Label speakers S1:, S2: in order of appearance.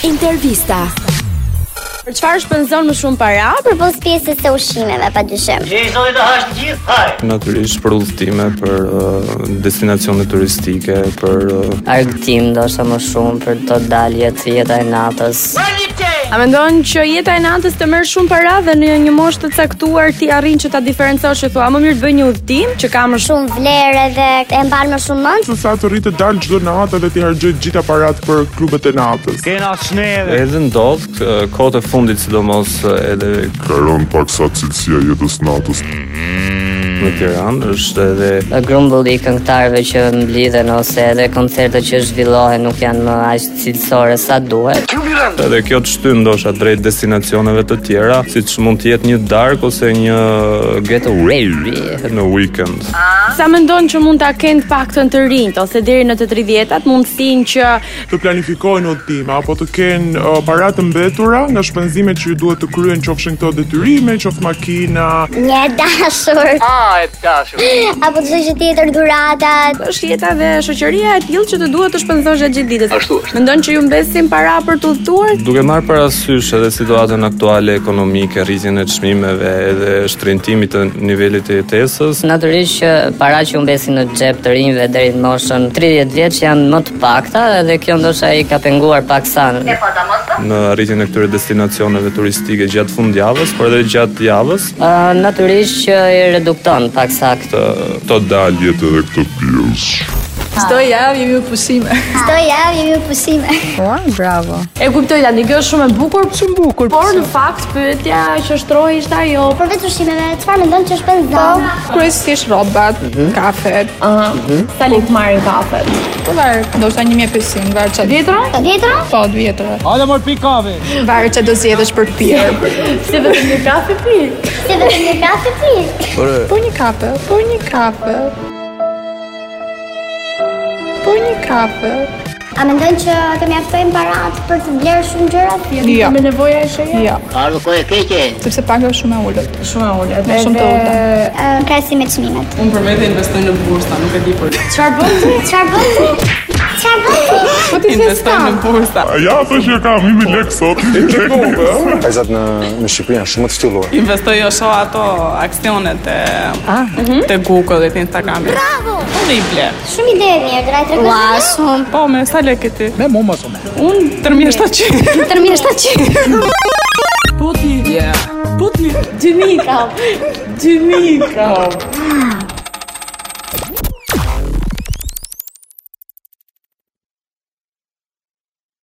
S1: Intervista. Për çfarë shpenzon më shumë para? po-
S2: përpos pjesës së ushqimeve padyshim.
S3: Je i zoti të hashtë të gjithë, hajë!
S4: Natyrisht për udhëtime, për ë, destinacione turistike, për uh, ë,
S5: argëtim ndoshta më shumë për do dalje të jeta e natës.
S1: A mendon që jeta e natës të merr shumë para dhe në një moshë të caktuar ti arrin që ta diferencosh e thua, "A më mirë të bëj një udhtim që ka më shumë
S2: Shumë vlerë dhe e mban më shumë mend.
S6: se sa të rritë dal çdo natë dhe ti harxoj gjithë parat për klubet e natës.
S3: Kena shneve!
S4: edhe ndodh ë, kohët e fundit sidomos ë, edhe
S7: Karon pak sa cilësia e jetës natës.
S4: në Tiranë është edhe
S5: Dhe grumbulli i këngëtarëve që mblidhen ose edhe koncertet që zhvillohen nuk janë më aq cilësore sa duhet.
S4: edhe kjo të shtyn ndoshta drejt destinacioneve të tjera, siç mund të jetë një dark ose një getaway në weekend.
S1: sa mendon që mund ta kenë të paktën të rinjt ose deri në të 30-tat mundësinë që
S6: Të planifikojnë udhëtime apo të kenë uh, para të mbetura nga shpenzimet që ju duhet të kryen qofshin këto detyrime, qoftë makina.
S2: Një e dashur. A, e dashur. Apo çdo gjë tjetër dhuratat.
S1: është jeta dhe shoqëria e tillë që të duhet të shpenzosh gjatë gjithë ditës. Ashtu është. Mendon që ju mbesin para për të udhëtuar?
S4: Duke marrë parasysh edhe situatën aktuale ekonomike, rritjen e çmimeve edhe shtrëngtimit të nivelit të jetesës,
S5: Natyrisht që para që humbesin në xhep të rinjve deri në moshën 30 vjeç janë më të pakta edhe kjo ndoshta i ka penguar paksa.
S4: në rritjen e këtyre destinacioneve turistike gjatë fundjavës, por edhe gjatë javës,
S5: Uh, natyrisht që i redukton paksa këtë.
S4: të to daljet
S7: Edhe këtë pjesë.
S8: Çdo javë jemi në pushime.
S2: Çdo javë jemi në pusime.
S1: E kuptoj tani, kjo është shumë e bukur, shumë bukur. Por në fakt pyetja që shtrohi ishte ajo,
S2: Përveç ushqimeve, çfarë mendon që shpenzon?
S8: Kryesisht rrobat, kafet,
S1: sa lek marrin kafet.
S8: po var, ndoshta 1500, var çfarë ditë.
S2: Vjetra? Vjetra?
S8: Po, dy vjetra. Hajde mor pikave. Var çfarë do zgjedhësh për të pirë.
S1: Si vetëm një kafe pi.
S2: Se vetëm një kafe pi.
S8: Po një kafe, po një kafe. Po një kafe.
S2: A mendon që kemi mjaftojnë parat për të vlerë shumë gjëra?
S8: Jo.
S1: Me nevoja e shëja.
S8: Jo,
S3: Ardhë kohë e keqe!
S8: sepse pak është shumë e ulët.
S1: Shumë të ulta.
S2: Ë, krahasim me çmimet.
S1: Çfarë bën?
S2: Çfarë bën ti? Çfarë bën ti?
S8: Po ti se sta.
S6: A ja thosh që kam 1000 lekë sot.
S9: Pajzat në në Shqipëri janë shumë të shtylluar.
S10: Investoj jo shoh ato aksionet e të Google e të Instagramit.
S8: Mhm.
S2: Bravo!
S10: Unë i ble.
S2: Shumë ide e mirë, dra i tregosh. Ua, shumë.
S10: Po, me sa lekë ti? Me mua mos unë. Unë tërmjesht të qenë.
S2: Tërmjesht ta çik.
S10: Po ti. Yeah. Po ti.
S1: Gjymika. Gjymika.